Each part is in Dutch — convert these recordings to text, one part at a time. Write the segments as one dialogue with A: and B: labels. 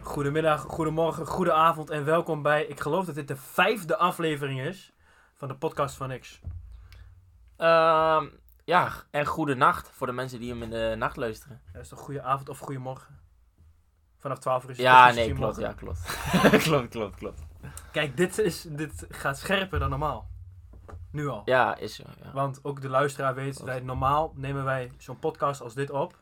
A: Goedemiddag, goedemorgen, goede avond en welkom bij. Ik geloof dat dit de vijfde aflevering is van de podcast van X.
B: Ehm, ja, en goede nacht voor de mensen die hem in de nacht luisteren.
A: Dat is toch goede avond of goede morgen? Vanaf 12 uur is het
B: ja,
A: technisch
B: nee,
A: gezien
B: klopt, ja,
A: morgen.
B: klopt. klopt, klopt, klopt.
A: Kijk, dit, is, dit gaat scherper dan normaal. Nu al.
B: Ja, is zo. Ja.
A: Want ook de luisteraar weet, wij, normaal nemen wij zo'n podcast als dit op.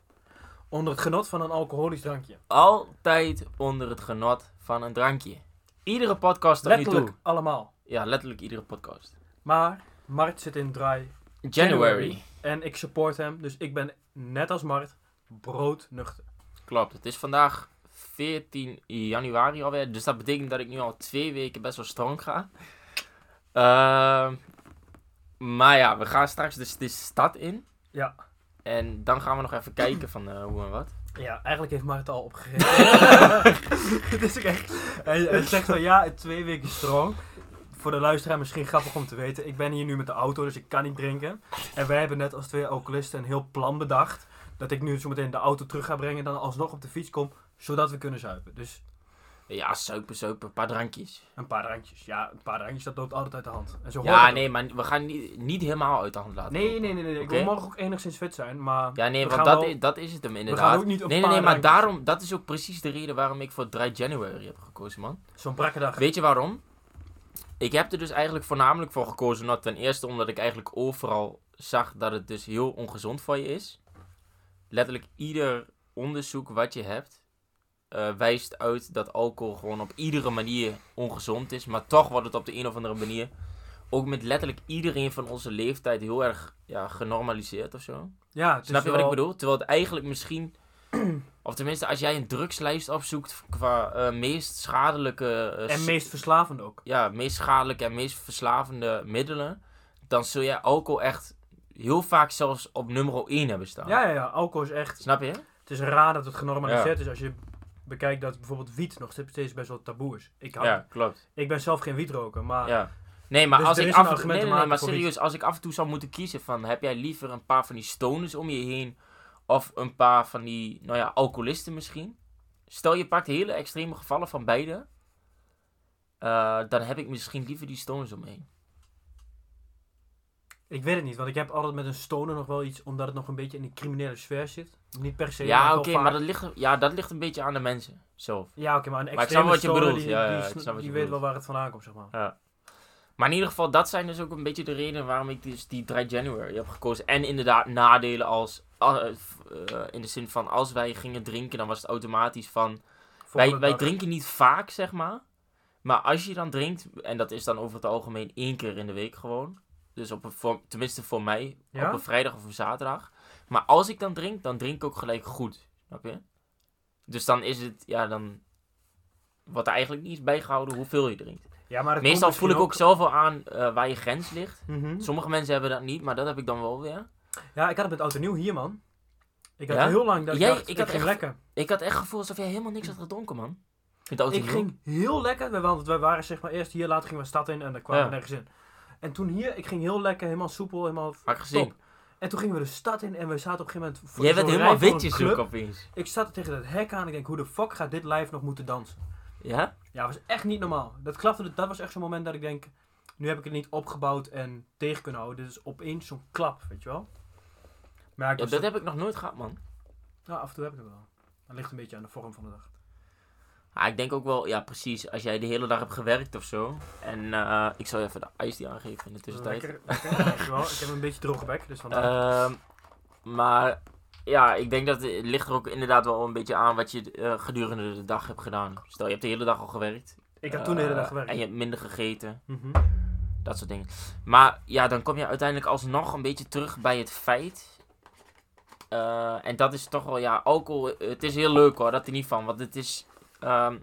A: onder het genot van een alcoholisch drankje.
B: Altijd onder het genot van een drankje. Iedere podcast tot nu
A: Letterlijk
B: toe.
A: allemaal.
B: Ja, letterlijk iedere podcast.
A: Maar Mart zit in draai
B: January.
A: en ik support hem, dus ik ben net als Mart broodnuchter.
B: Klopt, het is vandaag 14 januari alweer. Dus dat betekent dat ik nu al twee weken best wel strong ga. Ehm, maar ja, we gaan straks dus de stad in.
A: Ja.
B: En dan gaan we nog even kijken van eh, hoe en wat.
A: Ja, eigenlijk heeft Mart al opgegeven. Het is ook echt. Hij, hij zegt van ja, twee weken strong. Voor de luisteraar misschien grappig om te weten. Ik ben hier nu met de auto, dus ik kan niet drinken. En wij hebben net als twee alcoholisten een heel plan bedacht. Dat ik nu zo meteen de auto terug ga brengen en dan alsnog op de fiets kom. Zodat we kunnen zuipen. Dus
B: Ja, suipen, suipen, een paar drankjes.
A: een paar drankjes. Ja, een paar drankjes, dat loopt altijd uit de hand. En zo hoort
B: Ja,
A: het
B: nee, maar we gaan niet, niet helemaal uit de hand
A: ook.
B: laten.
A: nee, nee, nee, nee. Ik wil
B: Oké.
A: morgen ook enigszins fit zijn, maar...
B: Ja, nee,
A: We
B: want
A: gaan
B: dat,
A: wel-
B: i- dat is het hem
A: We
B: inderdaad.
A: gaan ook niet op
B: nee, nee, nee,
A: paar
B: maar
A: drankjes.
B: daarom, dat is ook precies de reden waarom ik voor Dry January heb gekozen, man.
A: Zo'n brakke dag.
B: Weet je waarom? Ik heb er dus eigenlijk voornamelijk voor gekozen. Nou, ten eerste omdat ik eigenlijk overal zag dat het dus heel ongezond voor je is. Letterlijk ieder onderzoek wat je hebt eh, wijst uit dat alcohol gewoon op iedere manier ongezond is. Maar toch wordt het op de een of andere manier, ook met letterlijk iedereen van onze leeftijd, heel erg ja, genormaliseerd of zo.
A: Ja, het is
B: Snap je wat ik
A: wel-
B: bedoel? Terwijl het eigenlijk misschien. Of tenminste, als jij een drugslijst opzoekt qua eh, meest schadelijke. eh,
A: En
B: s-
A: meest verslavend ook.
B: Ja, meest schadelijke en meest verslavende middelen. Dan zul jij alcohol echt heel vaak zelfs op nummer 1 hebben staan.
A: Ja, ja, ja. Alcohol is echt...
B: Snap je?
A: Het is raar dat het genormaliseerd is als je bekijkt dat bijvoorbeeld wiet nog steeds best wel taboe is. Ik, hou-
B: klopt.
A: ik ben zelf geen wietroker, maar
B: Ja. Nee, maar
A: Dus
B: als
A: er
B: ik
A: is een
B: af en toe,
A: argument
B: nee,
A: te
B: nee,
A: maken
B: nee, maar
A: voor
B: serieus, als ik af en toe zou moeten kiezen van heb jij liever een paar van die stoners om je heen of een paar van die, nou ja, alcoholisten misschien. Stel je pakt hele extreme gevallen van beide, eh, dan heb ik misschien liever die stoners om me heen.
A: ik weet het niet. Want ik heb altijd met een stoner nog wel iets, omdat het nog een beetje in de criminele sfeer zit. Niet per se.
B: ja,
A: wel
B: oké,
A: vaak-
B: maar dat ligt, ja, dat ligt een beetje aan de mensen zelf.
A: Ja, oké, maar een
B: Maar ik
A: extreme
B: snap wat je
A: stoner,
B: bedoelt.
A: die,
B: Ja, ja,
A: die,
B: ik
A: sn-
B: snap wat
A: die
B: je
A: weet wel
B: bedoelt.
A: waar het vandaan komt, zeg maar.
B: Maar in ieder geval, dat zijn dus ook een beetje de redenen waarom ik dus die 3 January heb gekozen. En inderdaad nadelen als, ah, eh, f- eh, in de zin van als wij gingen drinken, dan was het automatisch van... Wij,
A: Volgende
B: wij
A: dag.
B: drinken niet vaak, zeg maar. Maar als je dan drinkt, en dat is dan over het algemeen één keer in de week gewoon. Dus op een, voor, tenminste voor mij,
A: Ja?
B: op een vrijdag of een zaterdag. Maar als ik dan drink, dan drink ik ook gelijk goed. Snap je? Dus dan is het, ja, dan wordt er eigenlijk niet eens bijgehouden hoeveel je drinkt.
A: Ja, maar dat
B: Meestal
A: komt
B: voel ik ook
A: misschien
B: zelf wel aan eh, waar je grens ligt.
A: ook- Mhm.
B: Sommige mensen hebben dat niet, maar dat heb ik dan wel weer.
A: Ja, ik had het met oud en nieuw hier, man. Ik had
B: Ja?
A: heel lang dat ik
B: Jij-
A: dacht,
B: ik
A: ik,
B: had
A: ging
B: echt-
A: lekker.
B: Ik had echt het gevoel alsof jij helemaal niks had gedronken, man. Met de auto
A: Ik
B: nu.
A: ging heel lekker, we- want we waren zeg maar eerst hier, later gingen we stad in en dan kwamen
B: Ja.
A: we nergens in. En toen hier, ik ging heel lekker, helemaal soepel, helemaal
B: Had ik gezien.
A: Top. En toen gingen we de stad in en we zaten op een gegeven moment... voor-
B: Jij
A: zo'n
B: bent
A: rij
B: helemaal
A: voor een
B: witjes
A: club.
B: ook opeens.
A: Ik zat tegen dat hek aan ik denk, hoe de fuck gaat dit live nog moeten dansen?
B: Ja?
A: Ja, was echt niet normaal. Dat klapte, dat was echt zo'n moment dat ik denk, nu heb ik het niet opgebouwd en tegen kunnen houden. Dit is opeens zo'n klap, weet je wel? Maar ja, ik
B: Ja,
A: was
B: dat heb ik nog nooit gehad, man.
A: nou, af en toe heb ik het wel. Dat ligt een beetje aan de vorm van de dag.
B: Ah, ik denk ook wel, ja precies, als jij de hele dag hebt gewerkt of zo. En eh, ik zal je even de ijs die aangeven in de tussentijd.
A: Lekker, lekker, weet je wel. Ik heb een beetje droge bek, dus vandaar.
B: Ehm, maar ja, ik denk dat het ligt er ook inderdaad wel een beetje aan wat je eh, gedurende de dag hebt gedaan. Stel, je hebt de hele dag al gewerkt.
A: ik had toen de hele
B: eh,
A: dag gewerkt.
B: En je hebt minder gegeten.
A: Mhm.
B: Dat soort dingen. Maar ja, dan kom je uiteindelijk alsnog een beetje terug bij het feit. Eh, en dat is toch wel, ja, alcohol. eh, Het is heel leuk hoor, dat er niet van. Want het is, ehm,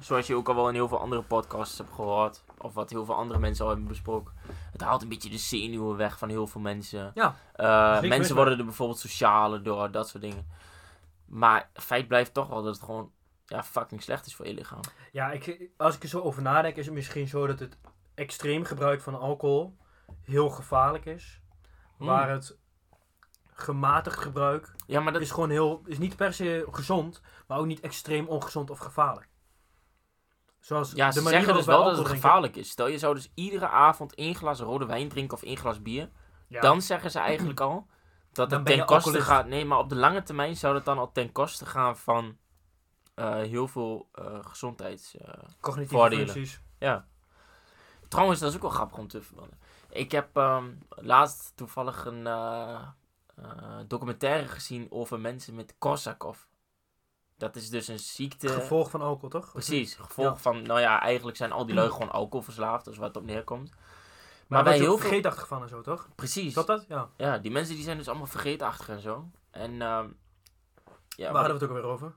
B: zoals je ook al wel in heel veel andere podcasts hebt gehoord. Of wat heel veel andere mensen al hebben besproken. Het haalt een beetje de zenuwen weg van heel veel mensen.
A: Ja,
B: Eh,
A: zeker
B: mensen
A: weten.
B: worden er bijvoorbeeld socialer door, dat soort dingen. Maar feit blijft toch wel dat het gewoon ja, fucking slecht is voor je lichaam.
A: Ja, ik, als ik er zo over nadenk, is het misschien zo dat het extreem gebruik van alcohol heel gevaarlijk is.
B: Hmm.
A: Waar het gematigd gebruik
B: Ja, maar dat
A: is gewoon heel, is niet per se gezond, maar ook niet extreem ongezond of gevaarlijk. Zoals
B: Ja,
A: de
B: ze
A: manier
B: zeggen dus
A: waarop wij
B: wel dat
A: alcohol
B: het
A: drinken-
B: gevaarlijk is. Stel, je zou dus iedere avond één glas rode wijn drinken of één glas bier.
A: Ja.
B: Dan zeggen ze eigenlijk al dat
A: Dan
B: het
A: ben je
B: ten koste
A: alcoholist.
B: gaat. Nee, maar op de lange termijn zou dat dan al ten koste gaan van eh, heel veel eh, gezondheids... eh.
A: cognitieve
B: voordelen.
A: functies.
B: Trouwens, dat is ook wel grappig om te verbannen. Ik heb ehm, laatst toevallig een eh, eh, documentaire gezien over mensen met Korsakoff. Dat is dus een ziekte...
A: Het gevolg van alcohol, toch?
B: Precies, gevolg
A: Ja.
B: van, nou ja, eigenlijk zijn al die lui gewoon alcoholverslaafd, dat is waar het op neerkomt.
A: Maar,
B: bij
A: wij heel
B: heel veel-
A: vergeetachtig van en zo, toch?
B: Precies.
A: Is dat dat? Ja.
B: Ja, die mensen die zijn dus allemaal vergeetachtig en zo. En ehm ja,
A: Waar
B: we
A: hadden
B: hadden
A: we het ook alweer over?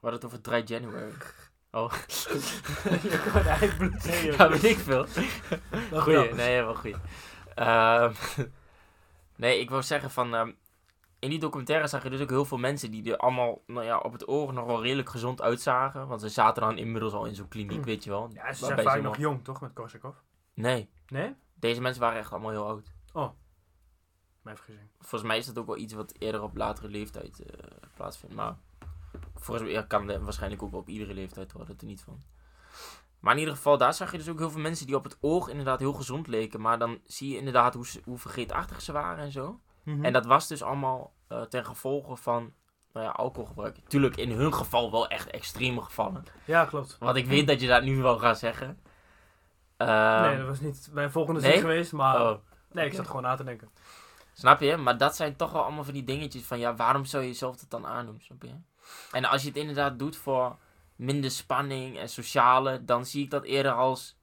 B: het over 3 January.
A: Je kan eindbloed zeggen.
B: Ja, weet ik veel.
A: Dat
B: Goeie,
A: wel.
B: nee, wel goeie. Ehm, nee, ik wou zeggen van... ehm, in die documentaire zag je dus ook heel veel mensen die er allemaal nou ja, op het oog nog wel redelijk gezond uitzagen. Want ze zaten dan inmiddels al in zo'n kliniek, weet je wel.
A: Hm. Ja, ze zijn
B: waarbij
A: vaak
B: allemaal-
A: nog jong, toch? Met Korsakov.
B: Nee,
A: Nee?
B: deze mensen waren echt allemaal heel oud.
A: Mijn vergissing.
B: volgens mij is dat ook wel iets wat eerder op latere leeftijd eh, plaatsvindt. Maar volgens mij kan het waarschijnlijk ook wel op iedere leeftijd worden, er niet van. Maar in ieder geval, daar zag je dus ook heel veel mensen die op het oog inderdaad heel gezond leken. Maar dan zie je inderdaad hoe, ze, hoe vergeetachtig ze waren en zo. En dat was dus allemaal eh, ten gevolge van nou ja, alcoholgebruik. Tuurlijk, in hun geval wel echt extreme gevallen.
A: Ja, klopt.
B: Want ik weet dat je dat nu wel gaat zeggen. Ehm,
A: Mhm. nee, dat was niet mijn volgende
B: nee?
A: zin geweest, maar...
B: oh.
A: Nee, ik
B: Oké.
A: zat gewoon na te denken.
B: Snap je? Maar dat zijn toch wel allemaal van die dingetjes van ja, waarom zou je jezelf dat dan aandoen? Snap je? En als je het inderdaad doet voor minder spanning en sociale, dan zie ik dat eerder als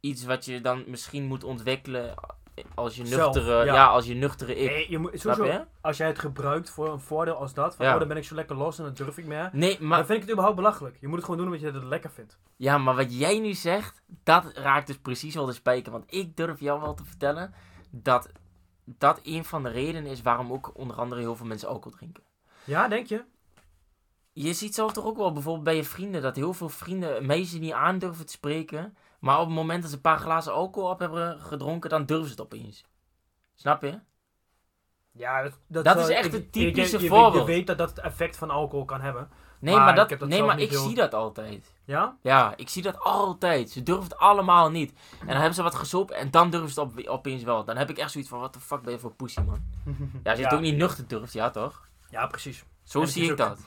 B: iets wat je dan misschien moet ontwikkelen als je
A: Zelf,
B: nuchtere, ja.
A: ja.
B: als je nuchtere ik.
A: Nee, je moet,
B: snap
A: sowieso,
B: je?
A: als jij het gebruikt voor een voordeel als dat, van
B: Ja.
A: oh, dan ben ik zo lekker los en dan durf ik meer.
B: Nee,
A: Dan
B: maar,
A: vind ik het überhaupt belachelijk. Je moet het gewoon doen omdat je het lekker vindt.
B: ja, maar wat jij nu zegt, dat raakt dus precies wel de spijker. Want ik durf jou wel te vertellen dat dat een van de redenen is waarom ook onder andere heel veel mensen alcohol drinken.
A: Ja, denk je?
B: Je ziet zelf toch ook wel bijvoorbeeld bij je vrienden dat heel veel vrienden een meisje niet aandurven te spreken. Maar op het moment dat ze een paar glazen alcohol op hebben gedronken, dan durven ze het opeens. Snap je?
A: Ja, dat,
B: Dat
A: zou-
B: is echt een typische
A: je- je weet-
B: voorbeeld.
A: Je weet dat dat het effect van alcohol kan hebben.
B: Nee, maar,
A: Maar
B: dat,
A: ik heb dat
B: nee,
A: zelf
B: maar
A: niet
B: ik
A: heel-
B: zie dat altijd.
A: Ja?
B: Ja, ik zie dat altijd. Ze durven het allemaal niet. En dan hebben ze wat gesopen en dan durven ze het op, opeens wel. Dan heb ik echt zoiets van, wat de fuck ben je voor pussy, man? Ja, als je het ook niet nuchter durft, ja toch?
A: Ja, precies.
B: Zo
A: En het
B: zie
A: is
B: ik
A: ook-
B: dat.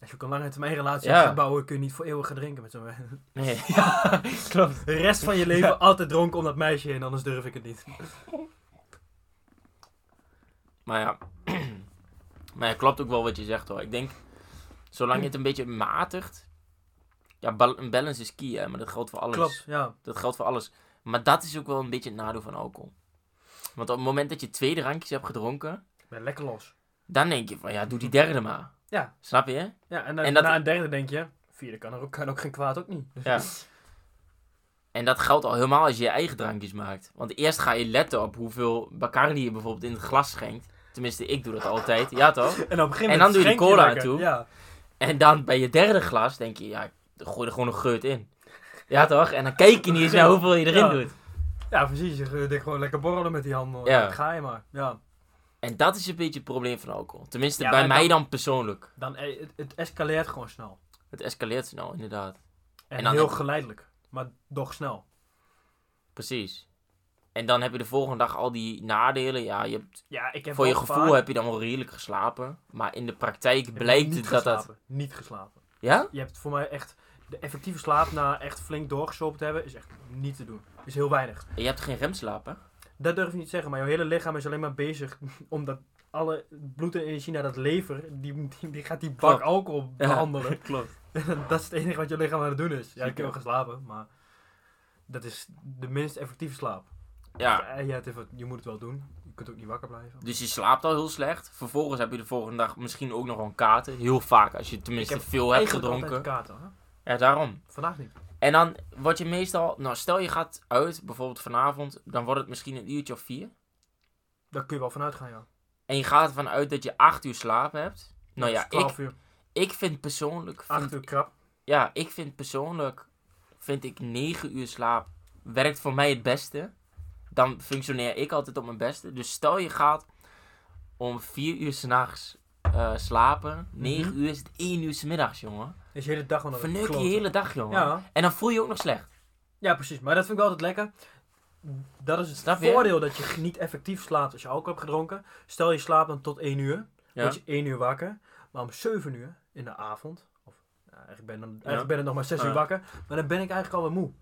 A: Als je ook een lange termijn relatie
B: Ja.
A: gaat bouwen, kun je niet voor eeuwig gaan drinken met zo'n...
B: Nee.
A: Klopt. De rest van je leven altijd dronken om dat meisje heen, anders durf ik het niet.
B: Maar ja. maar ja, klopt ook wel wat je zegt hoor. Ik denk, zolang je het een beetje matigt. Ja, bal- een balance is key, hè, maar dat geldt voor alles.
A: Klopt, ja.
B: Dat geldt voor alles. Maar dat is ook wel een beetje het nadeel van alcohol. Want op het moment dat je twee drankjes hebt gedronken,
A: Ik ben lekker los.
B: dan denk je van ja, doe die derde maar.
A: Ja.
B: Snap je?
A: Ja, en, dan,
B: En dat-
A: na een derde denk je, vierde kan er ook, kan ook geen kwaad, ook niet.
B: Ja. En dat geldt al helemaal als je je eigen drankjes maakt. Want eerst ga je letten op hoeveel Bacardi je bijvoorbeeld in het glas schenkt. Tenminste, ik doe dat altijd. Ja toch?
A: En op een gegeven moment
B: En dan doe je de
A: schenk
B: cola
A: lekker.
B: toe.
A: Ja.
B: En dan bij je derde glas denk je, ja, ik gooi er gewoon een geurt in. Ja toch? En dan kijk je niet eens naar hoeveel je erin
A: Ja.
B: doet.
A: ja, precies. Je eh, denkt gewoon lekker borrelen met die handen.
B: Ja.
A: Ja. Ga je maar. Ja.
B: En dat is een beetje het probleem van alcohol. Tenminste,
A: Ja,
B: bij
A: en
B: mij
A: dan-
B: dan persoonlijk.
A: Dan, eh, het, het escaleert gewoon snel.
B: Het escaleert snel, inderdaad.
A: En,
B: En dan-
A: heel geleidelijk. Maar toch snel.
B: Precies. En dan heb je de volgende dag al die nadelen. Ja, je hebt,
A: Ja, ik heb
B: voor je
A: wel
B: gevoel
A: vaak-
B: heb je dan wel redelijk geslapen. Maar in de praktijk
A: ik heb
B: blijkt
A: niet
B: het dat dat...
A: geslapen. Niet geslapen.
B: Ja?
A: Je hebt voor mij echt... De effectieve slaap na echt flink doorgesopen te hebben is echt niet te doen. Is heel weinig.
B: Je hebt geen remslaap, hè?
A: Dat durf je niet te zeggen, maar jouw hele lichaam is alleen maar bezig omdat alle bloed en energie naar dat lever, die, die, die gaat die bak
B: Klopt.
A: alcohol
B: Ja.
A: behandelen.
B: Klopt.
A: dat is het enige wat je lichaam aan het doen is. Ja,
B: Zeker.
A: ik heb wel geslapen, maar dat is de minst effectieve slaap.
B: Ja,
A: Eh, ja, het is wat- je moet het wel doen. Je kunt ook niet wakker blijven.
B: dus je slaapt al heel slecht. Vervolgens heb je de volgende dag misschien ook nog wel een kater. Heel vaak, als je tenminste
A: heb
B: veel hebt
A: Eigenlijk
B: gedronken.
A: altijd kater, hè?
B: Ja, daarom.
A: Vandaag niet.
B: En dan word je meestal, nou stel je gaat uit, bijvoorbeeld vanavond, dan wordt het misschien een uurtje of vier.
A: Daar kun je wel vanuit gaan, ja.
B: En je gaat ervan uit dat je acht uur slaap hebt. Nou ja, ik,
A: 12 uur,
B: ik vind persoonlijk,
A: 8
B: vind,
A: uur krap.
B: ja, ik vind persoonlijk, vind ik negen uur slaap werkt voor mij het beste. Dan functioneer ik altijd op mijn beste. Dus stel je gaat om vier uur s'nachts eh slapen.
A: Mhm.
B: Negen uur is het één uur 's middags, jongen.
A: Dus je hele dag gewoon aan het
B: Verneuk je
A: kloten.
B: hele dag, jongen.
A: Ja.
B: En dan voel je je ook nog slecht.
A: ja, precies. Maar dat vind ik altijd lekker. Dat is het
B: Snap je?
A: voordeel dat je niet effectief slaapt als je alcohol hebt gedronken. Stel je slaapt dan tot 1 uur.
B: Ja.
A: Word je 1 uur wakker. Maar om 7 uur in de avond. Of, nou, eigenlijk ben, ik dan, eigenlijk
B: Ja.
A: ben ik nog maar 6 uur
B: Ja.
A: wakker. Maar dan ben ik eigenlijk alweer moe.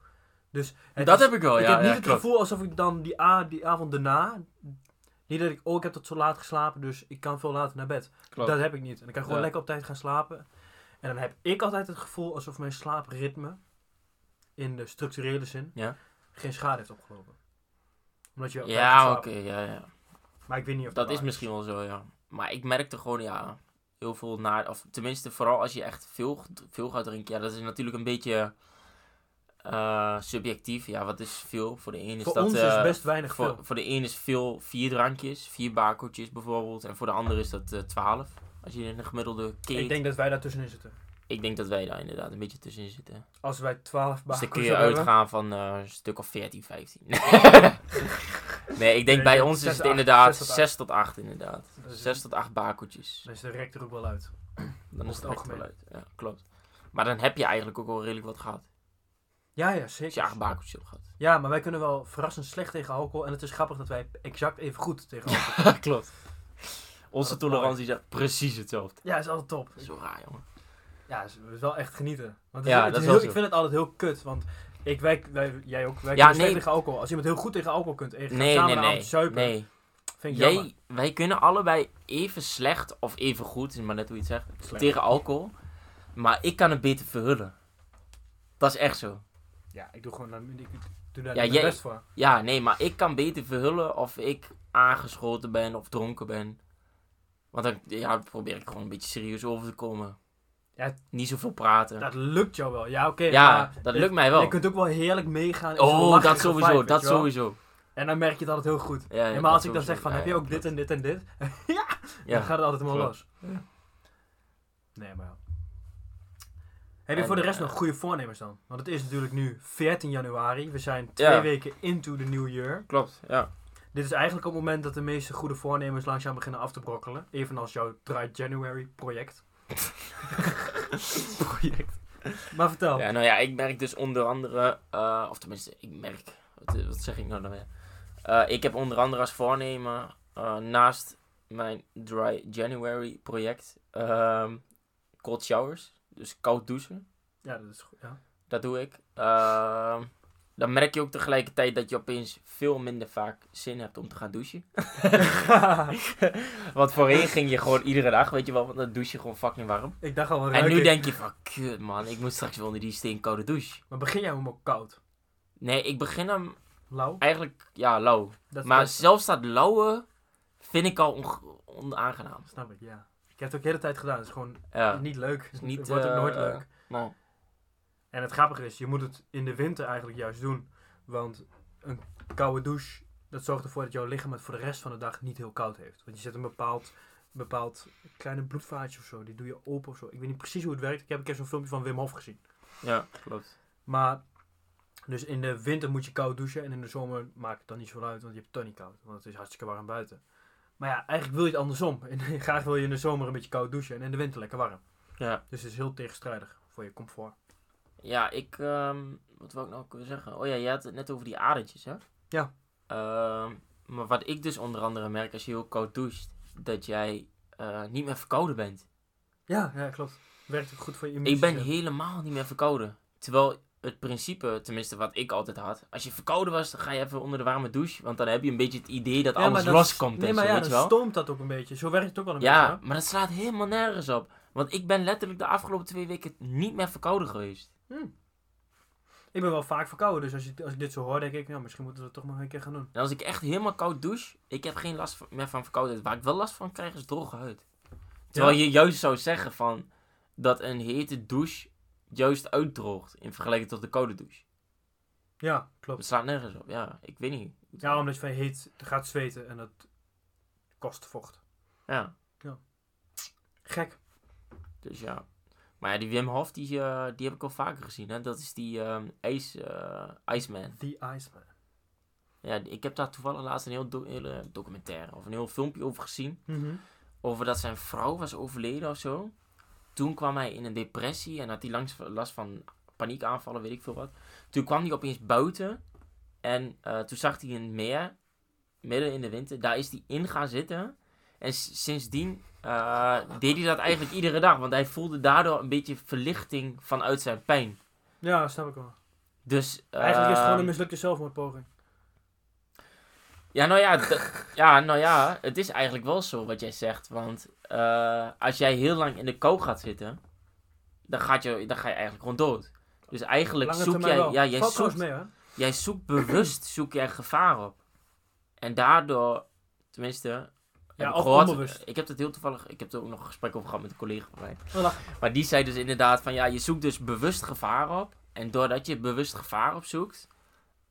A: Dus het
B: dat
A: is-
B: heb ik wel,
A: ik
B: ja.
A: heb niet
B: ja,
A: het
B: klopt.
A: gevoel alsof ik dan die, a, die avond daarna. Niet dat ik, oh, ik heb tot zo laat geslapen, dus ik kan veel later naar bed.
B: Klopt.
A: Dat heb ik niet. En ik kan gewoon
B: Ja.
A: lekker op tijd gaan slapen. En dan heb ik altijd het gevoel alsof mijn slaapritme, in de structurele zin,
B: Ja.
A: geen schade heeft opgelopen. Omdat je op tijd gaat
B: Ja, oké,
A: slapen.
B: ja, ja.
A: Maar ik weet niet of
B: Dat is
A: waar
B: misschien wel zo, ja. Maar ik merkte gewoon, ja, heel veel naar... Of tenminste, vooral als je echt veel, veel gaat drinken. Ja, dat is natuurlijk een beetje eh, subjectief. Ja, wat is veel? Voor de ene is
A: Voor
B: dat...
A: ons
B: eh,
A: is best weinig
B: voor,
A: veel.
B: voor de ene is veel vier drankjes, vier bakeltjes bijvoorbeeld. En voor de andere is dat eh, twaalf. Als je in een gemiddelde keek...
A: Ik denk dat wij daartussenin zitten.
B: dat wij daar inderdaad een beetje tussenin zitten.
A: Als wij 12
B: Dus dan
A: bakken
B: kun je uitgaan van eh, een stuk of 14, 15. nee, ik denk
A: Oh. Nee,
B: bij
A: zes
B: ons is
A: tot
B: het
A: acht,
B: inderdaad
A: zes tot acht.
B: 6 tot 8 inderdaad.
A: Dan
B: 6 tot 8 bakeltjes.
A: is de rek er ook wel uit.
B: Dan
A: Over
B: is het
A: het
B: echt wel
A: algemeen.
B: uit. Ja, klopt. Maar dan heb je eigenlijk ook wel redelijk wat gehad.
A: Ja, ja,
B: Als je
A: zeker.
B: acht bakeltjes hebt gehad.
A: Ja, maar wij kunnen wel verrassend slecht tegen alcohol. En het is grappig dat wij exact even goed tegen alcohol kunnen.
B: klopt. Onze
A: Dat is
B: tolerantie is echt precies hetzelfde.
A: Ja, is altijd top.
B: Zo raar, jongen.
A: Ja, is, is wel echt genieten. Want het
B: Ja,
A: is, het is
B: dat is wel
A: heel-
B: zo.
A: ik vind het altijd heel kut. Want ik, wij, wij- jij ook, wij
B: Ja,
A: kunnen slecht
B: nee.
A: tegen alcohol. Als iemand heel goed tegen alcohol kunt en je gaat
B: Nee,
A: samen
B: nee,
A: een
B: nee.
A: avond zuipen,
B: nee.
A: vind ik jammer.
B: Jij, wij kunnen allebei even slecht of even goed, is maar net hoe je het zegt,
A: Slecht.
B: tegen alcohol. Maar ik kan het beter verhullen. Dat is echt zo.
A: Ja, ik doe gewoon dan- ik, ik doe daar
B: Ja,
A: mijn
B: jij-
A: best voor.
B: Ja, nee, maar ik kan beter verhullen of ik aangeschoten ben of dronken ben. Want dan ja, probeer ik gewoon een beetje serieus over te komen.
A: Ja.
B: Niet zoveel praten.
A: Dat lukt jou wel. Ja, oké.
B: ja,
A: maar
B: dat
A: je-
B: lukt mij wel.
A: Je kunt ook wel heerlijk meegaan. in zo'n
B: Oh, dat
A: lacherige
B: sowieso,
A: vibe, weet
B: dat
A: je wel.
B: sowieso.
A: En dan merk je het altijd heel goed.
B: Ja, ja,
A: En maar
B: dat
A: als ik dan
B: sowieso.
A: zeg van,
B: Ja,
A: heb je
B: ja,
A: ook dit en dit en dit?
B: Ja.
A: Dan gaat het altijd helemaal los.
B: Ja.
A: Nee, maar ja. Heb je
B: En,
A: voor de rest
B: eh,
A: nog goede voornemens dan? Want het is natuurlijk nu 14 januari. We zijn twee
B: Ja.
A: weken into the new year.
B: Klopt, ja.
A: Dit is eigenlijk op het moment dat de meeste goede voornemens langzaam beginnen af te brokkelen. Evenals jouw Dry January project.
B: Project.
A: Maar vertel.
B: Ja, nou ja, ik merk dus onder andere, eh, of tenminste, ik merk, wat, wat zeg ik nou dan weer? Eh, ik heb onder andere als voornemen, eh, naast mijn Dry January project, ehm, cold showers, dus koud douchen.
A: Ja, dat is goed. Ja.
B: Dat doe ik. Ehm, dan merk je ook tegelijkertijd dat je opeens veel minder vaak zin hebt om te gaan douchen. Want voorheen ging je gewoon iedere dag, weet je wel, want dan douche je gewoon fucking warm.
A: ik dacht al, wat
B: En
A: ruik
B: nu
A: ik?
B: denk je van, kut man, ik moet straks wel onder die steenkoude douche.
A: Maar begin jij hem ook koud?
B: Nee, ik begin hem
A: Lauw?
B: eigenlijk, ja, lauw.
A: Dat
B: Maar
A: dat-
B: zelfs dat lauwe vind ik al onge- onaangenaam.
A: Snap ik, ja. Ik heb het ook de hele tijd gedaan. Het is gewoon
B: Ja,
A: niet leuk.
B: is niet,
A: het wordt ook
B: eh,
A: nooit leuk.
B: nou,
A: En het grappige is, je moet het in de winter eigenlijk juist doen. Want een koude douche, dat zorgt ervoor dat jouw lichaam het voor de rest van de dag niet heel koud heeft. Want je zet een bepaald, bepaald kleine bloedvaatje of zo, die doe je open of zo. Ik weet niet precies hoe het werkt. Ik heb een keer zo'n filmpje van Wim Hof gezien.
B: ja, klopt.
A: Maar, dus in de winter moet je koud douchen. En in de zomer maakt het dan niet zo uit, want je hebt het dan niet koud. Want het is hartstikke warm buiten. Maar ja, eigenlijk wil je het andersom. En graag wil je in de zomer een beetje koud douchen en in de winter lekker warm.
B: Ja,
A: Dus het is heel tegenstrijdig voor je comfort.
B: ja ik, ehm, wat wou ik nou ook weer zeggen? Oh ja, je had het net over die adertjes, hè?
A: Ja.
B: Ehm, maar wat ik dus onder andere merk, als je heel koud doucht, dat jij eh, niet meer verkouden bent.
A: Ja, ja klopt. Werkt ook goed voor je
B: Ik
A: immuunsysteem.
B: ben helemaal niet meer verkouden. Terwijl het principe, tenminste wat ik altijd had, als je verkouden was, dan ga je even onder de warme douche. Want dan heb je een beetje het idee dat alles
A: maar
B: loskomt
A: Nee,
B: en
A: maar
B: zo,
A: ja, dan
B: weet je wel.
A: stoomt dat ook een beetje. Zo werkt het ook wel een
B: ja,
A: beetje.
B: maar dat slaat helemaal nergens op. Want ik ben letterlijk de afgelopen twee weken niet meer verkouden geweest.
A: hè? Ik ben wel vaak verkouden, dus als, je, als ik dit zo hoor, denk ik, nou, misschien moeten we dat toch maar een keer gaan doen.
B: En als ik echt helemaal koud douche, ik heb geen last van- meer van verkoudheid. Waar ik wel last van krijg is droge huid. Terwijl je juist zou zeggen van dat een hete douche juist uitdroogt in vergelijking tot de koude douche.
A: Ja,
B: Het
A: klopt.
B: slaat nergens op, ja. Ik weet niet.
A: Ja, omdat je van heet gaat zweten en dat kost vocht.
B: Ja.
A: Gek.
B: Dus ja. Maar ja, die Wim Hof, die, eh, die heb ik al vaker gezien. Hè? Dat is die ehm ijs, eh, Iceman.
A: The Iceman.
B: Ja, ik heb daar toevallig laatst een heel do- hele documentaire of een heel filmpje over gezien. Over dat zijn vrouw was overleden of zo. Toen kwam hij in een depressie en had hij langs, last van paniekaanvallen, weet ik veel wat. Toen kwam hij opeens buiten en eh, toen zag hij een meer, midden in de winter. Daar is hij in gaan zitten. En s- sindsdien eh, deed hij dat eigenlijk iedere dag, want hij voelde daardoor een beetje verlichting vanuit zijn pijn.
A: Ja, snap ik wel.
B: Dus, eh,
A: Eigenlijk is het gewoon een mislukte zelfmoordpoging.
B: Ja, nou ja, d- ja, nou ja, het is eigenlijk wel zo wat jij zegt. Want eh, als jij heel lang in de kou gaat zitten, dan, gaat je, dan ga je eigenlijk gewoon dood. Dus eigenlijk
A: Lange
B: zoek
A: termijn
B: jij,
A: wel.
B: ja, jij,
A: Valt trouwens
B: zoekt,
A: mee, hè?
B: jij zoekt bewust zoek jij gevaar op. En daardoor, tenminste, heb
A: Ja,
B: ik
A: of
B: gehoord-
A: onbewust.
B: ik heb dat heel toevallig, ik heb er ook nog een gesprek over gehad met een collega van mij.
A: Oh, lach.
B: Maar die zei dus inderdaad van ja, je zoekt dus bewust gevaar op. En doordat je bewust gevaar opzoekt,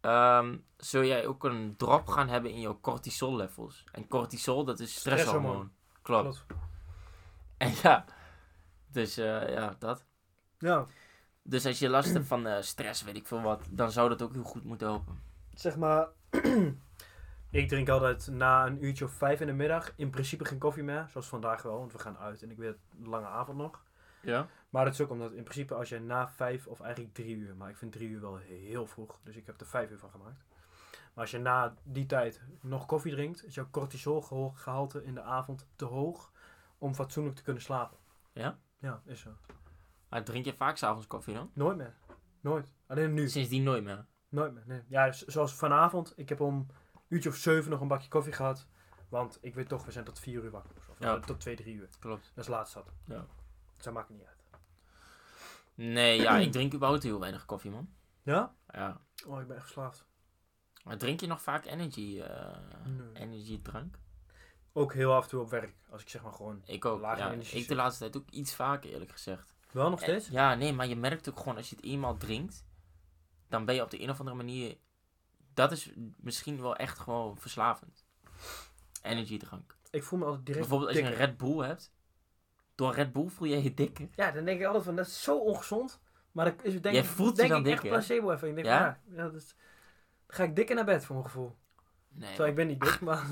B: ehm, zul jij ook een drop gaan hebben in je cortisol levels. En cortisol, dat is
A: Stresshormoon.
B: stresshormoon. Klopt.
A: Klopt.
B: En ja, dus eh, ja, dat.
A: Ja,
B: Dus als je last hebt van eh, stress, weet ik veel wat, dan zou dat ook heel goed moeten helpen.
A: zeg maar. ik drink altijd na een uurtje of vijf in de middag in principe geen koffie meer. Zoals vandaag wel, want we gaan uit en ik weet een lange avond nog.
B: Ja?
A: Maar dat is ook omdat in principe als je na vijf of eigenlijk drie uur, maar ik vind drie uur wel heel vroeg, dus ik heb er vijf uur van gemaakt. Maar als je na die tijd nog koffie drinkt, is jouw cortisolgehalte in de avond te hoog om fatsoenlijk te kunnen slapen.
B: Ja?
A: Ja, is zo.
B: Maar drink je vaak s'avonds koffie dan?
A: Nooit meer. Nooit. Alleen nu.
B: Sindsdien nooit meer.
A: Nooit meer, nee. Ja, z- zoals vanavond. Ik heb om een uurtje of zeven nog een bakje koffie gehad. Want ik weet toch, we zijn tot vier uur wakker. Of eh,
B: Ja.
A: tot twee, drie uur.
B: Klopt.
A: Dat is laatst dat.
B: Ja.
A: Dus dat maakt niet uit.
B: Nee, ja, ik drink überhaupt heel weinig koffie, man.
A: Ja?
B: Ja.
A: Oh, ik ben echt verslaafd.
B: Maar drink je nog vaak energy, eh
A: Nee.
B: energiedrank?
A: Ook heel af en toe op werk. Als ik zeg maar gewoon...
B: Ik ook.
A: Lage
B: ja,
A: energie
B: ik de
A: zit.
B: laatste tijd ook iets vaker, eerlijk gezegd.
A: Wel nog steeds?
B: En- ja, nee, maar je merkt ook gewoon als je het eenmaal drinkt, dan ben je op de een of andere manier. Dat is misschien wel echt gewoon verslavend. Energiedrank.
A: Ik voel me altijd direct
B: Bijvoorbeeld als je een
A: dikker.
B: Red Bull hebt. Door Red Bull voel je je dikker.
A: Ja, dan denk ik altijd van, dat is zo ongezond. Maar dan is, denk,
B: Jij
A: ik-
B: voelt je
A: denk
B: dan
A: ik
B: dikker, hè?
A: echt placebo even. Ik denk
B: Ja?
A: van, ja, ja, dat is- dan ga ik dikker naar bed, voor mijn gevoel.
B: Nee,
A: Terwijl ik ben niet dik, maar...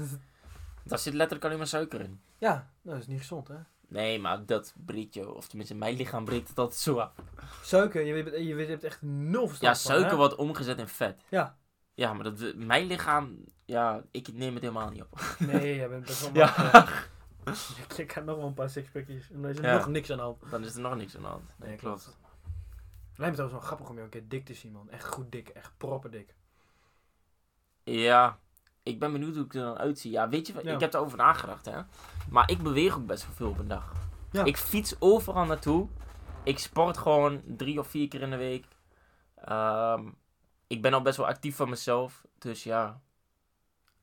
B: daar zit letterlijk alleen maar suiker in.
A: ja, nou, dat is niet gezond, hè.
B: Nee, maar dat breekt je, of tenminste mijn lichaam breekt het altijd zo af.
A: Suiker, je, weet- je, weet- je hebt echt nul verstand
B: Ja,
A: van,
B: suiker
A: hè?
B: wordt omgezet in vet.
A: Ja.
B: Ja, maar dat, mijn lichaam, ja, ik neem het helemaal niet op.
A: Nee, jij bent best wel
B: Ja.
A: makkelijk. Ik had nog wel een paar sixpackjes en dan is er
B: Ja.
A: nog niks aan de hand.
B: Dan is er nog niks aan de hand. Nee, klopt.
A: Lijkt me trouwens wel grappig om jou een keer dik te zien, man. Echt goed dik, echt propperdik.
B: Ja, ik ben benieuwd hoe ik er dan uitzie. Ja, weet je wat?
A: Ja.
B: Ik heb erover nagedacht, hè. Maar ik beweeg ook best wel veel op een dag.
A: Ja.
B: Ik fiets overal naartoe. Ik sport gewoon drie of vier keer in de week. Ehm, ik ben al best wel actief van mezelf. Dus ja,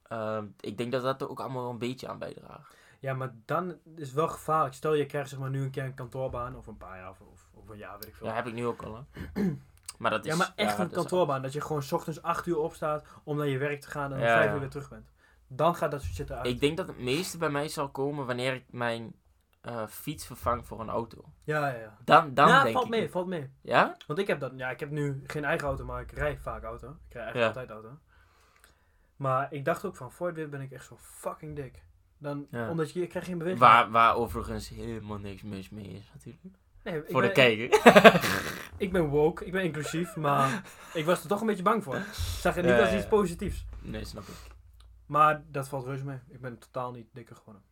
B: Ehm, ik denk dat dat er ook allemaal wel een beetje aan bijdraagt.
A: Ja, maar dan is het wel gevaarlijk. Stel, je krijgt zeg maar nu een keer een kantoorbaan of een paar jaar of, of, of een jaar, weet ik veel.
B: Dat heb ik nu ook al, hè. Maar dat is...
A: ja, maar echt
B: ja,
A: een
B: dat is-
A: kantoorbaan. Dat je gewoon 's ochtends acht uur opstaat om naar je werk te gaan en om
B: Ja,
A: vijf
B: ja.
A: uur weer terug bent. Dan gaat dat soort shit eruit.
B: Ik denk dat het meeste bij mij zal komen wanneer ik mijn eh, fiets vervang voor een auto.
A: Ja, ja, ja.
B: Dan, dan
A: ja,
B: denk
A: valt
B: ik...
A: mee, valt mee.
B: Ja?
A: Want ik heb dat, ja, ik heb nu geen eigen auto, maar ik rij vaak auto. Ik rij eigenlijk
B: Ja.
A: altijd auto. Maar ik dacht ook van, voor het weer ben ik echt zo fucking dik. Dan,
B: Ja.
A: Omdat je, je krijgt geen beweging.
B: Waar, waar overigens helemaal niks mis mee is, natuurlijk.
A: Nee, ik
B: Voor
A: ben,
B: de kijker.
A: Ik ben woke, ik ben inclusief, maar ik was er toch een beetje bang voor. Ik zag het niet
B: Ja,
A: als
B: ja,
A: iets
B: ja.
A: positiefs.
B: Nee, snap ik.
A: Maar dat valt reuze mee. Ik ben totaal niet dikker geworden.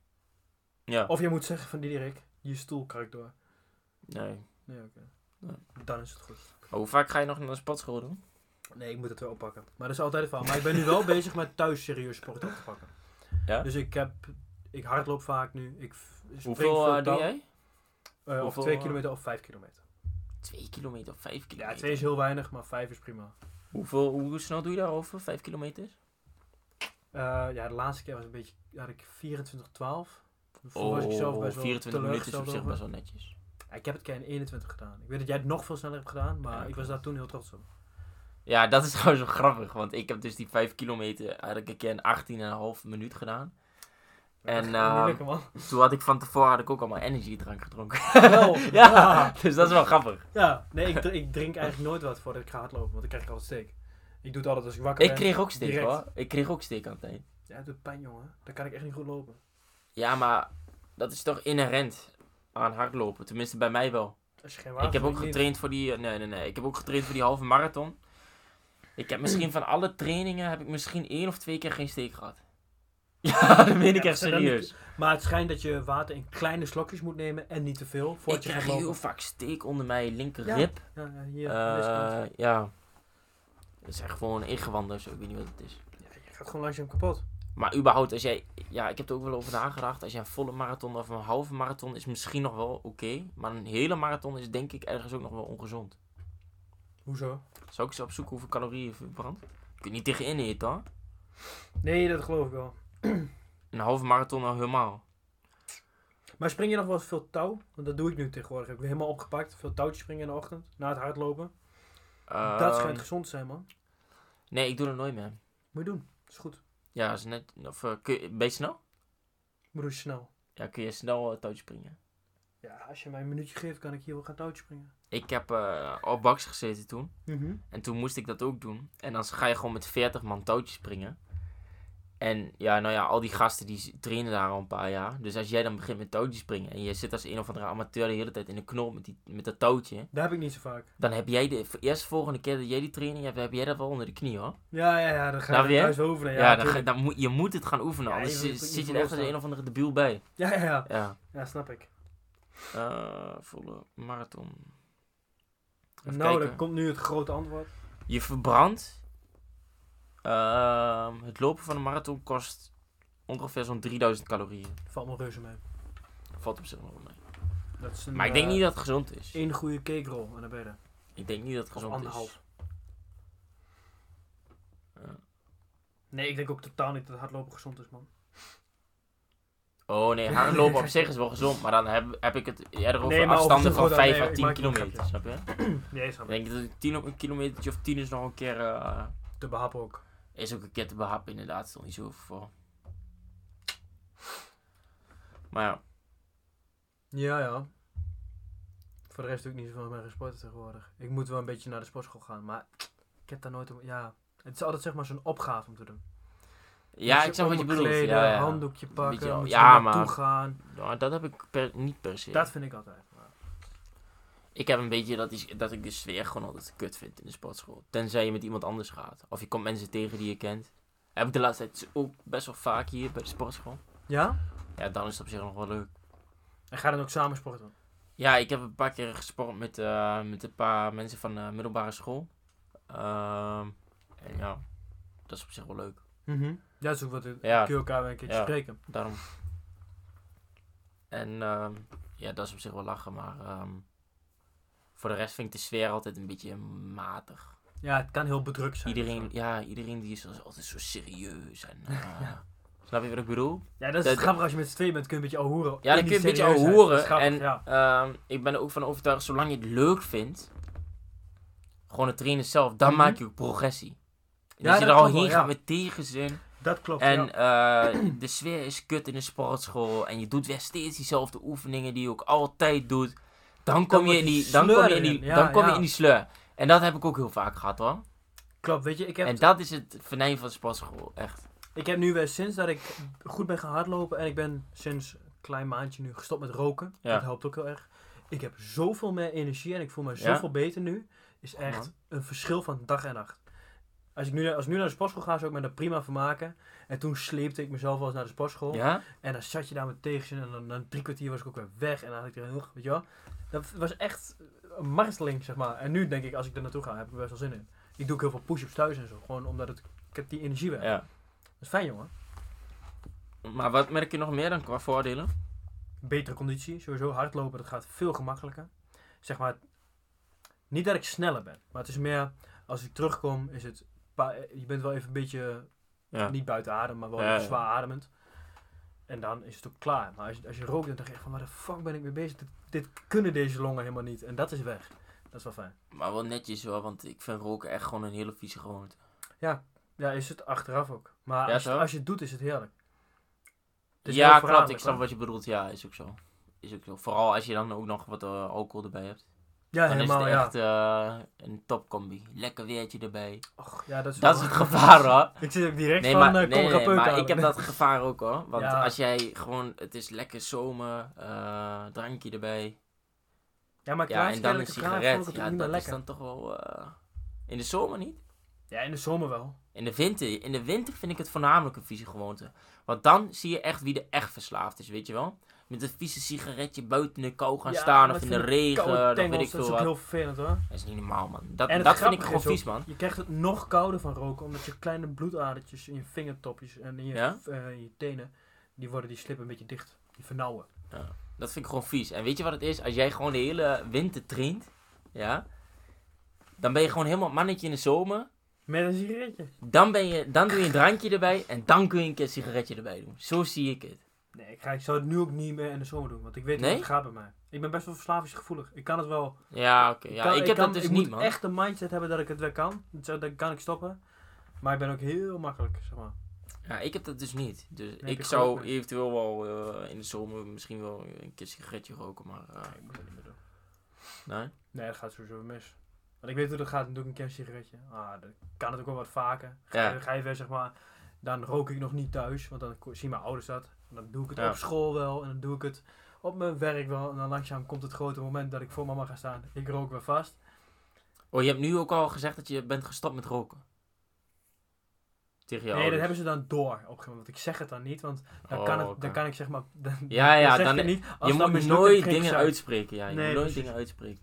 B: Ja.
A: Of je moet zeggen van Diederik, je stoel kruipt door.
B: Nee.
A: Nee, oké.
B: Ja.
A: Dan is het goed.
B: Hoe vaak ga je nog naar de sportschool doen?
A: Nee, ik moet het weer oppakken. Maar dat is altijd het verhaal. Maar ik ben nu wel bezig met thuis serieus sport op te pakken.
B: Ja?
A: Dus ik heb... Ik hardloop vaak nu. Ik v- spring
B: Hoeveel
A: veel
B: eh, doe
A: touw.
B: jij?
A: Eh, of
B: hoeveel,
A: twee
B: eh,
A: kilometer of vijf kilometer.
B: Twee kilometer of vijf kilometer?
A: Ja, twee is heel weinig, maar vijf is prima.
B: Hoeveel, hoe snel doe je daarover? Vijf kilometer?
A: Eh, ja, de laatste keer was een beetje, had ik 24, 12.
B: Oh,
A: was ik zelf best wel
B: 24 minuten is
A: teleurgesteld
B: op zich
A: over.
B: best wel netjes.
A: Ja, ik heb het keer in 21 gedaan. Ik weet dat jij het nog veel sneller hebt gedaan, maar
B: Ja,
A: ik was
B: klopt.
A: daar toen heel trots op.
B: Ja, dat is gewoon zo grappig. Want ik heb dus die vijf kilometer eigenlijk een keer in 18,5 minuut gedaan. En,
A: Dat gaat niet
B: ehm,
A: lukken, man.
B: Toen had ik van tevoren had ik ook allemaal energiedrank gedronken.
A: Wel,
B: ja, dus dat is wel grappig.
A: Ja, nee, ik, dr- ik drink eigenlijk nooit wat voordat ik ga hardlopen, want dan krijg ik altijd steek. Ik doe het altijd als ik wakker
B: Ik
A: ben.
B: kreeg ook steek
A: direct.
B: hoor. Ik kreeg ook steek aan het eind.
A: Ja, het doet pijn, jongen. Dan kan ik echt niet goed lopen.
B: Ja, maar dat is toch inherent aan hardlopen. Tenminste bij mij wel.
A: Als je geen water
B: ik heb ook
A: drinkt,
B: getraind voor die. eh, Nee, nee, nee. Ik heb ook getraind voor die halve marathon. Ik heb misschien van alle trainingen heb ik misschien één of twee keer geen steek gehad. Ja, dat meen ik
A: Ja,
B: echt
A: maar dan-
B: serieus.
A: niet. Maar het schijnt dat je water in kleine slokjes moet nemen en niet te veel.
B: Ik
A: Voordat je
B: krijg
A: gaat lopen.
B: heel Eh, vaak steek onder mijn
A: Ja.
B: linkerrib.
A: Ja, ja, hier. aan deze
B: Ja,
A: kant.
B: ja. Dat is echt gewoon ingewanden of zo. Ik weet niet wat het is.
A: Ja, je gaat gewoon langzaam kapot.
B: Maar überhaupt, als jij, ja, ik heb er ook wel over nagedacht. Als jij een volle marathon of een halve marathon is misschien nog wel oké. maar een hele marathon is denk ik ergens ook nog wel ongezond.
A: Hoezo?
B: Zou ik eens opzoeken hoeveel calorieën je verbrandt? Kun je niet tegenin eten hoor.
A: Nee, dat geloof ik wel.
B: Een halve marathon al helemaal.
A: Maar spring je nog wel eens veel touw? Want dat doe ik nu tegenwoordig. Ik heb helemaal opgepakt. Veel touwtjes springen in de ochtend. Na het hardlopen. dat
B: Ehm,
A: schijnt gezond te zijn, man.
B: Nee, ik doe dat nooit meer.
A: Moet je doen. Is goed.
B: Ja, is net, of, eh, kun je, ben je snel?
A: Moet doen snel.
B: Ja, kun je snel uh, touwtje springen.
A: Ja, als je mij een minuutje geeft, kan ik hier wel gaan touwtje springen.
B: Ik heb eh, op baks gezeten toen.
A: Mhm.
B: En toen moest ik dat ook doen. En dan ga je gewoon met 40 man touwtjes springen. En ja, nou ja, al die gasten die z- trainen daar al een paar jaar. Dus als jij dan begint met touwtjes springen en je zit als een of andere amateur de hele tijd in de knol met, die, met dat touwtje.
A: Dat heb ik niet zo vaak.
B: Dan heb jij de eerst volgende keer dat jij die training hebt, heb jij dat wel onder de knie hoor.
A: Ja, ja, ja. Dan ga
B: Snap
A: je
B: je?
A: thuis over.
B: Ja,
A: Ja,
B: dan ga,
A: natuurlijk.
B: dan moet, je moet het gaan oefenen,
A: Ja, je
B: anders
A: moet
B: zit-
A: het niet
B: zit je er echt als
A: verloren
B: een of andere debiel bij.
A: ja, ja, ja.
B: Ja,
A: Ja, snap ik.
B: Eh, volle marathon. Even
A: nou,
B: kijken.
A: dan komt nu het grote antwoord.
B: Je verbrandt. ehm, het lopen van een marathon kost ongeveer zo'n 3000 calorieën.
A: Valt me reuze mee.
B: Valt op zich nog wel mee.
A: Dat is een,
B: Maar ik denk
A: eh,
B: niet dat het gezond is.
A: één goede cake roll en dan ben je er.
B: Ik denk niet dat het
A: Of
B: gezond is.
A: anderhalf.
B: Ja.
A: Nee, ik denk ook totaal niet dat hardlopen gezond is, man.
B: Oh nee, hardlopen op zich is wel gezond, maar dan heb, heb ik het eerder over
A: Nee, maar
B: afstanden
A: over-
B: van
A: goed,
B: 5
A: nee,
B: à
A: ik
B: 10
A: maak een
B: kilometer.
A: grapje.
B: Snap je?
A: Nee, snap
B: Ik
A: ik.
B: denk dat een, 10 op- een kilometertje of 10 is nog een keer. eh,
A: Te behappen ook.
B: is ook een keer te behappen, inderdaad. Stel niet zo voor. Maar ja,
A: Ja, ja. Voor de rest doe ik niet zoveel meer gesport tegenwoordig. Ik moet wel een beetje naar de sportschool gaan, maar ik heb daar nooit... om- Ja, het is altijd zeg maar zo'n opgave om te doen.
B: ja
A: Moet
B: ik snap wat je bedoelt.
A: omkleden,
B: Ja, ja.
A: handdoekje pakken,
B: beetje-
A: moet je
B: ja,
A: er naartoe
B: maar-
A: gaan.
B: Nou, dat heb ik per, niet per se.
A: Dat vind ik altijd. maar-
B: Ik heb een beetje dat, die- dat ik de sfeer gewoon altijd kut vind in de sportschool. Tenzij je met iemand anders gaat. Of je komt mensen tegen die je kent. Heb ik de laatste tijd ook best wel vaak hier bij de sportschool.
A: Ja?
B: Ja, dan is het op zich nog wel leuk.
A: En ga dan ook samen sporten.
B: Ja, ik heb een paar keer gesport met, eh, met een paar mensen van de middelbare school. Ehm, en ja, dat is op zich wel leuk.
A: Ja, dat is ook wat... ik-
B: Ja,
A: Kun je elkaar weer een keertje
B: Ja.
A: spreken.
B: daarom. En ehm, ja, dat is op zich wel lachen. Maar ehm, voor de rest vind ik de sfeer altijd een beetje matig.
A: Ja, het kan heel bedrukt zijn.
B: Iedereen, ja, iedereen die is als- altijd zo serieus en... eh, Snap je wat ik bedoel?
A: Ja, dat is
B: Dat-
A: grappig als je met z'n tweeën bent, kun je een beetje al horen.
B: Ja,
A: In
B: dan
A: die
B: kun je een beetje al
A: serieusheid. Dat
B: horen.
A: is grappig,
B: en
A: ja.
B: ehm, ik ben er ook van overtuigd, zolang je het leuk vindt, gewoon het trainen zelf, dan
A: Mhm.
B: maak je ook progressie. En
A: Ja,
B: als je
A: dat
B: er al
A: klopt wel,
B: heen
A: ja.
B: gaat met tegenzin.
A: Dat klopt.
B: En
A: ja.
B: eh, de sfeer is kut in de sportschool. En je doet weer steeds diezelfde oefeningen die je ook altijd doet. Dan kom,
A: wordt
B: je, in
A: die
B: die, dan kom, je,
A: sleur
B: in die,
A: erin. Ja,
B: dan kom je
A: ja.
B: in die sleur. En dat heb ik ook heel vaak gehad hoor.
A: Klopt, weet je, ik heb,
B: En dat is het venijn van de sportschool, echt.
A: ik heb nu weer sinds dat ik goed ben gaan hardlopen en ik ben sinds een klein maandje nu gestopt met roken.
B: Ja.
A: Dat helpt ook heel erg. Ik heb zoveel meer energie en ik voel me
B: Ja?
A: zoveel beter nu. Is
B: Goed,
A: echt
B: man.
A: een verschil van dag en nacht. Als ik, nu, als ik nu naar de sportschool ga, zou ik me daar prima van maken. En toen sleepte ik mezelf wel eens naar de sportschool.
B: Ja?
A: En dan zat je daar met tegenzin en dan, dan drie kwartier was ik ook weer weg. En dan had ik er heel, weet je wel. Dat was echt een marteling, zeg maar. En nu denk ik, als ik er naartoe ga, heb ik er best wel zin in. Ik doe ook heel veel push-ups thuis en zo. Gewoon omdat het, ik heb die energie weg.
B: ja.
A: Dat is fijn, jongen.
B: Maar wat merk je nog meer dan qua voordelen?
A: Betere conditie, sowieso. Hardlopen, dat gaat veel gemakkelijker. Zeg maar, niet dat ik sneller ben. Maar het is meer, als ik terugkom, is het... pa- Je bent wel even een beetje,
B: Ja.
A: niet buiten adem, maar wel
B: Ja,
A: even
B: ja.
A: zwaar ademend. En dan is het ook klaar. Maar als, je- als je rookt, dan denk je echt van, waar de fuck ben ik mee bezig? Dit, dit kunnen deze longen helemaal niet. En dat is weg. Dat is wel fijn.
B: Maar wel netjes hoor, want ik vind roken echt gewoon een hele vieze gewoonte.
A: Ja, is het achteraf ook. Maar
B: Ja,
A: als, je-
B: zo?
A: als je het doet, is het heerlijk. Het is heel
B: ja, klopt.
A: verraderlijk,
B: Ik snap
A: hoor.
B: wat je bedoelt. Ja, is ook zo. Is ook zo. Vooral als je dan ook nog wat eh, alcohol erbij hebt.
A: Ja,
B: dan
A: helemaal,
B: is het
A: ja.
B: echt eh, een topcombi. Lekker weertje erbij.
A: Och, ja, dat is,
B: eh, Dat is
A: wel-
B: het gevaar, hoor.
A: Ik zit ook direct
B: Nee,
A: van,
B: maar,
A: eh,
B: nee,
A: kom,
B: nee,
A: ga
B: nee,
A: peuk
B: maar
A: halen.
B: ik heb dat gevaar ook, hoor. Want
A: Ja.
B: als jij gewoon... Het is lekker zomer, eh, drankje erbij.
A: Ja, maar
B: Ja, en dan een
A: vond ik
B: sigaret.
A: het
B: Ja,
A: ook niet meer
B: dat is
A: lekker.
B: dan toch wel... eh, in de zomer niet?
A: Ja, in de zomer wel.
B: In de, winter, in de winter vind ik het voornamelijk een vieze gewoonte. Want dan zie je echt wie er echt verslaafd is, weet je wel? Met een vieze sigaretje buiten in de kou gaan
A: Ja,
B: staan of
A: met
B: in de
A: van die
B: regen,
A: Koude
B: dan eh, weet ik
A: tengels, dat
B: veel
A: is ook
B: wat.
A: heel vervelend hoor.
B: Dat is niet normaal, man. Dat,
A: En het
B: dat vind ik
A: grappige
B: gewoon
A: is ook-
B: vies, man.
A: Je krijgt het nog kouder van roken, omdat je kleine bloedadertjes in je vingertopjes en in je,
B: Ja?
A: eh, in je tenen, die worden die slippen een beetje dicht. Die vernauwen.
B: Dat vind ik gewoon vies. En weet je wat het is? Als jij gewoon de hele winter traint, ja, dan ben je gewoon helemaal mannetje in de zomer.
A: Met een sigaretje.
B: Dan, ben je, dan doe je een drankje erbij en dan kun je een keer een sigaretje erbij doen. Zo zie ik het.
A: Nee, ik, ga, ik zou het nu ook niet meer in de zomer doen, want ik weet
B: Nee?
A: niet hoe het gaat bij mij. Ik ben best wel verslavingsgevoelig. Ik kan het wel.
B: Ja, oké. ja.
A: kan-
B: Ik heb
A: kan-
B: dat dus
A: ik
B: niet,
A: moet
B: man.
A: echt een mindset hebben dat ik het weer kan. Zo, Dan kan ik stoppen. Maar ik ben ook heel makkelijk, zeg maar.
B: Ja, ik heb dat dus niet. Dus
A: heb
B: ik
A: je
B: zou
A: geluk mee.
B: eventueel wel eh, in de zomer misschien wel een keer een sigaretje roken, maar eh,
A: Nee, ik moet dat niet meer doen.
B: nee.
A: Nee, dat gaat sowieso mis. Want ik weet hoe dat gaat, dan doe ik een keer een sigaretje. Ah, dan kan het ook wel wat vaker. Ga,
B: Ja.
A: je- ga je weer, zeg maar, dan rook ik nog niet thuis, want dan ko- zien mijn ouders dat. En dan doe ik het
B: Ja.
A: op school wel en dan doe ik het op mijn werk wel. En dan langzaam komt het grote moment dat ik voor mama ga staan. Ik rook weer vast.
B: Oh, je hebt nu ook al gezegd dat je bent gestopt met roken. Tegen jou.
A: nee, dat hebben ze dan door op een gegeven moment. Ik zeg het dan niet, want dan,
B: Oh,
A: kan, het,
B: oké.
A: dan kan ik zeg maar... Dan,
B: Ja, ja,
A: dan zeg
B: dan-
A: ik het niet. Als
B: je
A: dat
B: moet
A: mislukt, dan
B: nooit
A: knik ik
B: dingen
A: zo.
B: uitspreken. Ja, je
A: Nee,
B: moet nooit
A: precies.
B: dingen uitspreken.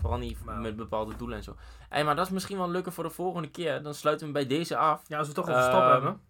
B: Vooral niet
A: Maar-
B: met bepaalde doelen en zo. Hey, maar dat is misschien wel leuker voor de volgende keer. Dan sluiten we bij deze af.
A: Ja, als we toch over stop
B: Ehm,
A: hebben,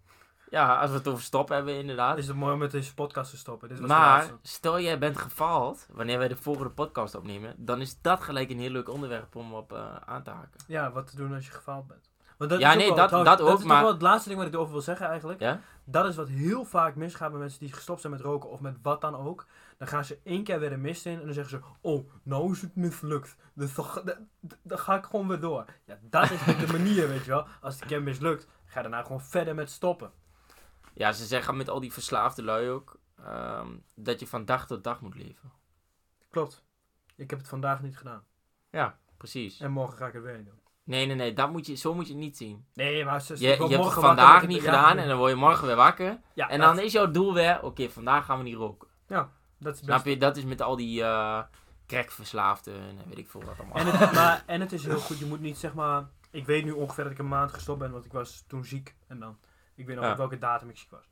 B: Ja, als we het over stoppen hebben, inderdaad.
A: dan is het mooi om met deze podcast te stoppen. Dit was de
B: Maar
A: Dus laatste.
B: stel jij bent gefaald wanneer wij de volgende podcast opnemen, dan is dat gelijk een heel leuk onderwerp om op eh, aan te haken.
A: Ja, wat te doen als je gefaald bent. Want dat
B: Ja,
A: is ook
B: nee,
A: wel,
B: dat-
A: trouwens,
B: dat ook,
A: is
B: maar-
A: toch wel het laatste ding wat ik erover wil zeggen eigenlijk.
B: Ja?
A: Dat is wat heel vaak misgaat bij mensen die gestopt zijn met roken of met wat dan ook. Dan gaan ze één keer weer de mist in en dan zeggen ze... Oh, nou is het mislukt. Dus dan, ga- dan- dan ga ik gewoon weer door. Ja, dat is niet de manier, weet je wel. Als het een keer mislukt, ga daarna gewoon verder met stoppen.
B: Ja, ze zeggen met al die verslaafde lui ook ehm, dat je van dag tot dag moet leven.
A: Klopt. Ik heb het vandaag niet gedaan.
B: Ja, precies.
A: En morgen ga ik het weer niet doen.
B: Nee, nee, nee, dat moet je, zo moet je het niet zien.
A: Nee, maar ze,
B: Je,
A: ze-
B: je
A: ik word
B: hebt het
A: Dus morgen
B: vandaag
A: wakker met
B: niet
A: het- ja,
B: gedaan en dan word je morgen weer wakker.
A: Ja, Dus-
B: En
A: dat-
B: dan is jouw doel weer, oké, vandaag gaan we niet roken.
A: dat is best
B: Snap je? Dat is met al die eh crackverslaafden en weet ik veel wat allemaal.
A: En het, maar, en het is heel goed, je moet niet zeg maar. Ik weet nu ongeveer dat ik een maand gestopt ben, want ik was toen ziek. En dan. Ik weet nog
B: Ja.
A: op welke datum ik ziek was.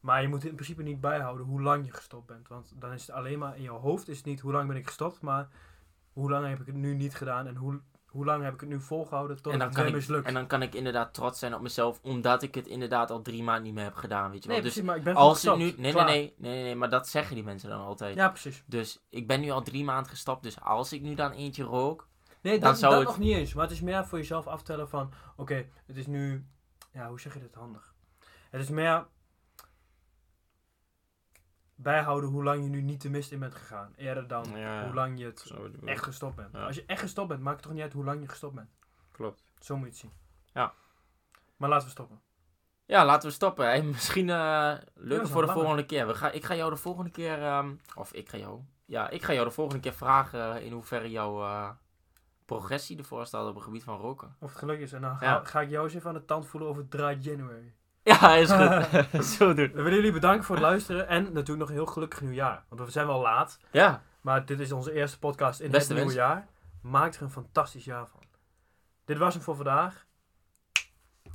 A: Maar je moet in principe niet bijhouden hoe lang je gestopt bent. Want dan is het alleen maar in je hoofd is het niet hoe lang ben ik gestopt, maar hoe lang heb ik het nu niet gedaan en hoe, hoe lang heb ik het nu volgehouden tot
B: En dan,
A: het
B: kan
A: weer
B: ik,
A: mislukt.
B: en dan kan ik inderdaad trots zijn op mezelf, omdat ik het inderdaad al drie maanden niet meer heb gedaan, weet je wel.
A: nee,
B: dus
A: precies, maar ik ben gewoon
B: als het nu...
A: gestopt.
B: Nee, nee,
A: Klaar.
B: nee, nee, nee, nee, maar dat zeggen die mensen dan altijd.
A: Ja, precies.
B: Dus ik ben nu al drie maanden gestapt, dus als ik nu dan eentje rook,
A: Nee,
B: Dan
A: dat,
B: zou
A: dat
B: het-
A: nog niet eens. Maar het is meer voor jezelf aftellen van... Oké, het is nu... Ja, hoe zeg je dit handig? Het is meer... Bijhouden hoe lang je nu niet de mist in bent gegaan. Eerder dan
B: Ja.
A: hoe lang je het echt gestopt bent.
B: Ja.
A: Als je echt gestopt bent, maakt het toch niet uit hoe lang je gestopt bent.
B: Klopt.
A: Zo moet je het zien.
B: Ja.
A: Maar laten we stoppen.
B: Ja, laten we stoppen. Hey, misschien eh leuker
A: is
B: voor de
A: wel
B: volgende keer. We ga, ik ga jou de volgende keer... ehm, of ik ga jou... Ja, ik ga jou de volgende keer vragen in hoeverre jouw eh, progressie ervoor staat op het gebied van roken.
A: Of het geluk is. En dan ga,
B: Ja.
A: ga ik jou eens even aan de tand voelen over Dry January.
B: Ja, is goed. Zo doen.
A: We willen jullie bedanken voor het luisteren. En natuurlijk nog een heel gelukkig nieuwjaar. Want we zijn wel laat.
B: Ja,
A: Maar dit is onze eerste podcast in
B: Beste
A: het nieuwe
B: wensen.
A: jaar. Maak er een fantastisch jaar van. Dit was hem voor vandaag.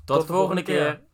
B: tot, de volgende keer.